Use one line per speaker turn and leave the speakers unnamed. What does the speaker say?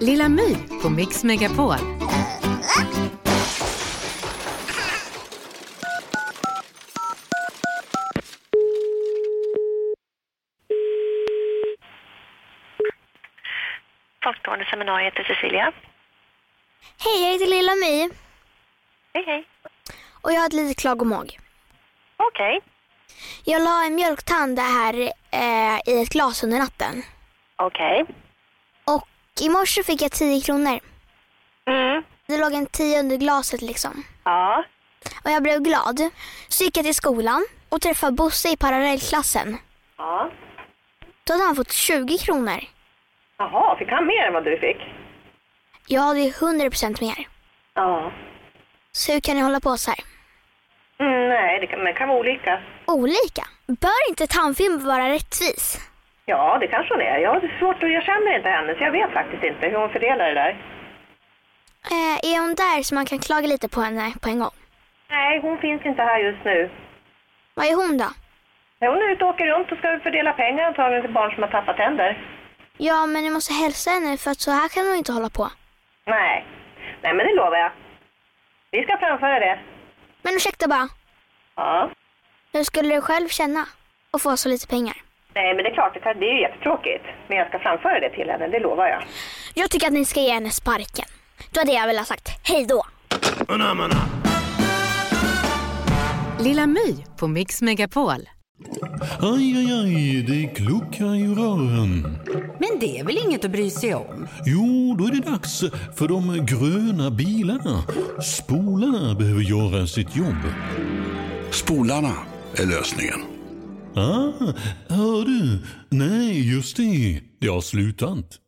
Lilla My på Mix Megapol.
Folkstående seminariet heter Cecilia.
Hej, jag heter Lilla My
Hej, hej.
och jag har ett litet klagomål.
Okej.
Jag la en mjölktand här eh, i ett glas under natten.
Okej.
Och i morse fick jag 10 kronor.
Mm.
Det låg en 10 under glaset liksom.
Ja.
Och jag blev glad. Så gick jag till skolan och träffade Bosse i parallellklassen.
Ja.
Då hade han fått 20 kronor.
Jaha, fick han mer än vad du fick?
Jag hade ju 100% mer.
Ja.
Så hur kan ni hålla på så här?
Mm, nej, det kan, det kan vara olika.
Olika? Bör inte tandfilm vara rättvis?
Ja, det kanske hon är. Jag har svårt att, jag känner inte henne så jag vet faktiskt inte hur hon fördelar det där.
Eh, är hon där så man kan klaga lite på henne på en gång?
Nej, hon finns inte här just nu.
Vad är hon då?
Nej, Hon är ute och åker runt och ska fördela pengar antagligen till barn som har tappat tänder.
Ja, men ni måste hälsa henne för att så här kan hon inte hålla på.
Nej. Nej, men det lovar jag. Vi ska framföra det.
Men ursäkta bara,
Ja.
hur skulle du själv känna att få så lite pengar?
Nej, men det är klart, det kan- det är ju jättetråkigt. Men jag ska framföra det till henne, det lovar jag.
Jag tycker att ni ska ge henne sparken. Då hade jag velat sagt hej då.
Lilla My på Mix Megapol.
Aj, aj, aj, det kluckar i rören.
Men det är väl inget att bry sig om?
Jo, då är det dags för de gröna bilarna. Spolarna behöver göra sitt jobb.
Spolarna är lösningen.
Ah, hör du? Nej, just det. Det har slutat.